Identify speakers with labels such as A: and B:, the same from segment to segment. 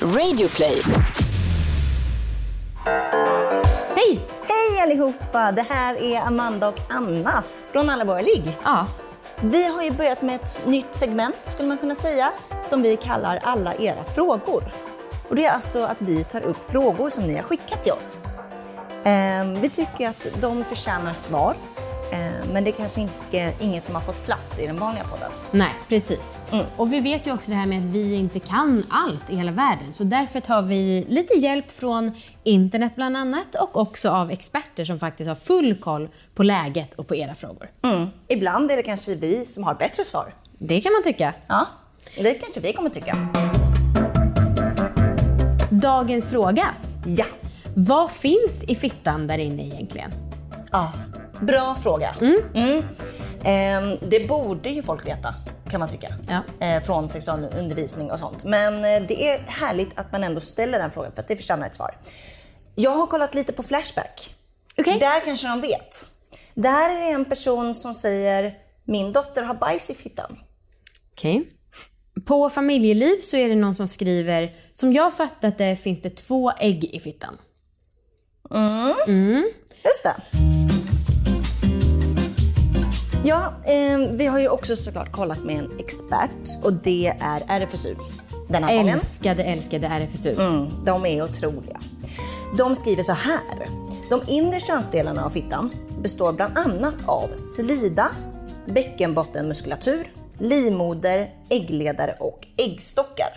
A: Radioplay.
B: Hej! Hej allihopa! Det här är Amanda och Anna från Alla våra ligg.
C: Ja,
B: Vi har ju börjat med ett nytt segment skulle man kunna säga som vi kallar Alla era frågor. Och det är alltså att vi tar upp frågor som ni har skickat till oss. Ehm, vi tycker att de förtjänar svar ehm, men det är kanske inte, inget som har fått plats i den vanliga podden.
C: nej precis.
B: Mm.
C: Och vi vet ju också det här med att vi inte kan allt i hela världen. Så därför tar vi lite hjälp från internet bland annat och också av experter som faktiskt har full koll på läget och på era frågor.
B: Mm. Ibland är det kanske vi som har bättre svar.
C: Det kan man tycka.
B: Ja, det kanske vi kommer tycka.
C: Dagens fråga.
B: Ja,
C: Vad finns i fittan där inne egentligen?
B: ja. bra fråga. Mm. Ehm, det borde ju folk veta kan man tycka.
C: Ja.
B: eh, från sexualundervisning och sånt. Men eh, det är härligt att man ändå ställer den frågan för att det förtjänar ett svar. Jag har kollat lite på Flashback.
C: Okej.
B: Där kanske de vet. Där är det en person som säger min dotter har bajs i fittan.
C: Okej. På familjeliv så är det någon som skriver, som jag fattat det finns det två ägg i fittan.
B: Just det. Ja, eh, vi har ju också såklart kollat med en expert och det är RFSU. Den här gången.
C: Älskade, älskade RFSU.
B: Mm, de är otroliga. De skriver så här. De inre könsdelarna av fittan består bland annat av slida, bäckenbottenmuskulatur, livmoder, äggledare och äggstockar.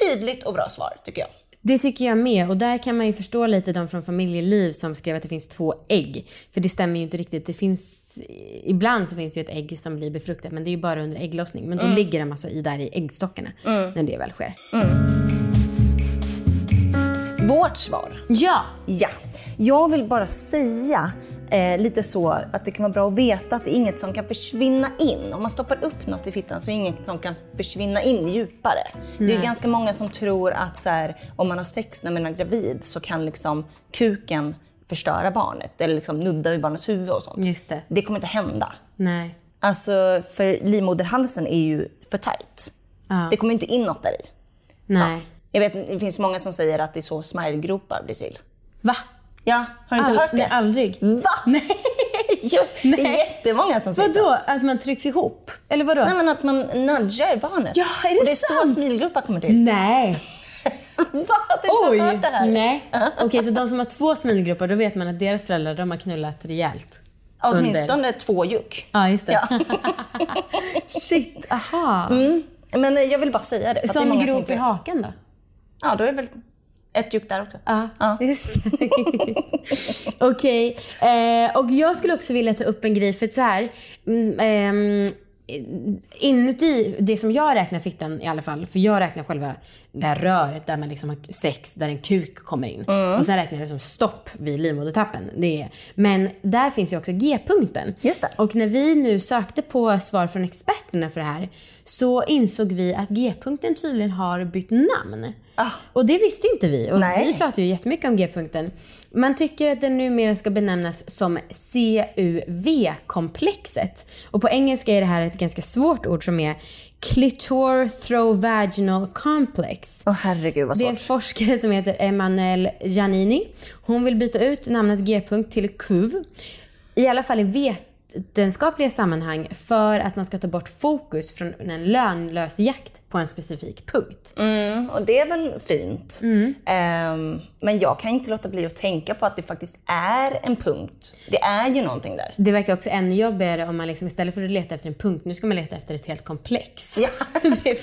B: Tydligt och bra svar tycker jag.
C: Det tycker jag med. Och där kan man ju förstå lite de från familjeliv som skrev att det finns två ägg. För det stämmer ju inte riktigt. Det finns, ibland så finns det ju ett ägg som blir befruktat men det är ju bara under ägglossning.
B: Mm.
C: Men då ligger de alltså i, där i äggstockarna när det väl sker.
B: Vårt svar?
C: Ja!
B: Ja. Jag vill bara säga eh, lite så att det kan vara bra att veta att det är inget som kan försvinna in. Om man stoppar upp något i fittan så är det inget som kan försvinna in djupare. Det är ganska många som tror att så här, om man har sex när man är gravid så kan liksom kuken förstöra barnet eller liksom nudda vid barnets huvud och sånt.
C: Just det.
B: Det kommer inte hända.
C: Nej.
B: Alltså, för livmoderhalsen är ju för tajt.
C: Ja.
B: Det kommer inte in något där i.
C: Nej.
B: Jag vet, det finns många som säger att det är så smilegropar blir till.
C: Va?
B: Ja, har du inte
C: All-
B: hört det?
C: Nej, aldrig.
B: Va? Nej! Jo, det är jättemånga som säger så.
C: Vadå? Att man trycks ihop? Eller vadå?
B: Nej, men att man nudgar barnet.
C: Ja, är det
B: Och det är så
C: sant?
B: smilgropar kommer till.
C: Nej.
B: Va? Har du inte hört det här?
C: Nej. Okej, så de som har två smilgrupper, då vet man att deras föräldrar de har knullat rejält.
B: Åtminstone två juck.
C: Ja, just det.
B: Ja.
C: Shit, aha.
B: Men eh, jag vill bara säga det. för att det är
C: Som
B: många som
C: grop
B: inte
C: i
B: vet.
C: haken då?
B: Ja, då är det väl ett juck där också.
C: Ja, just det. Okej. Eh, och jag skulle också vilja ta upp en grej, för att så här. Mm, ehm, inuti det som jag räknar fittan i alla fall, för jag räknar själva det här röret där man liksom har sex, där en kuk kommer in. Och sen räknar jag det som stopp vid livmodertappen. Det är, men där finns ju också G-punkten.
B: Just det.
C: Och när vi nu sökte på svar från experterna för det här så insåg vi att G-punkten tydligen har bytt namn.
B: Ah.
C: Och det visste inte vi. Och
B: Nej.
C: vi pratar ju jättemycket om G-punkten. Man tycker att den numera ska benämnas som CUV-komplexet. Och på engelska är det här ett ganska svårt ord som är clitorothrovaginal complex.
B: Åh herregud vad
C: Det är en
B: svårt.
C: forskare som heter Emanuel Giannini. Hon vill byta ut namnet G-punkt till KUV. I alla fall i vetenskapliga sammanhang för att man ska ta bort fokus från en lönlös jakt på en specifik punkt.
B: Mm, och det är väl fint.
C: Mm.
B: Ehm, men jag kan inte låta bli att tänka på att det faktiskt är en punkt. Det är ju någonting där.
C: Det verkar också ännu jobbigare om man liksom istället för att leta efter en punkt, nu ska man leta efter ett helt komplex.
B: Ja.
C: Det är,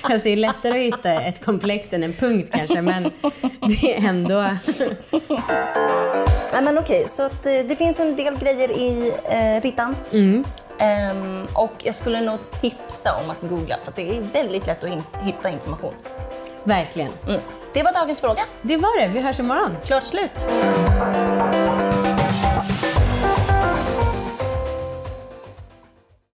C: fast det är lättare att hitta ett komplex än en punkt kanske, men det är ändå...
B: Nej men okej, så att eh, det finns en del grejer i eh, fittan. Ehm, och jag skulle nog tipsa om att googla för att det är väldigt lätt att in- hitta information.
C: Verkligen.
B: Mm. Det var dagens fråga.
C: Det var det. Vi hörs imorgon.
B: Klart slut!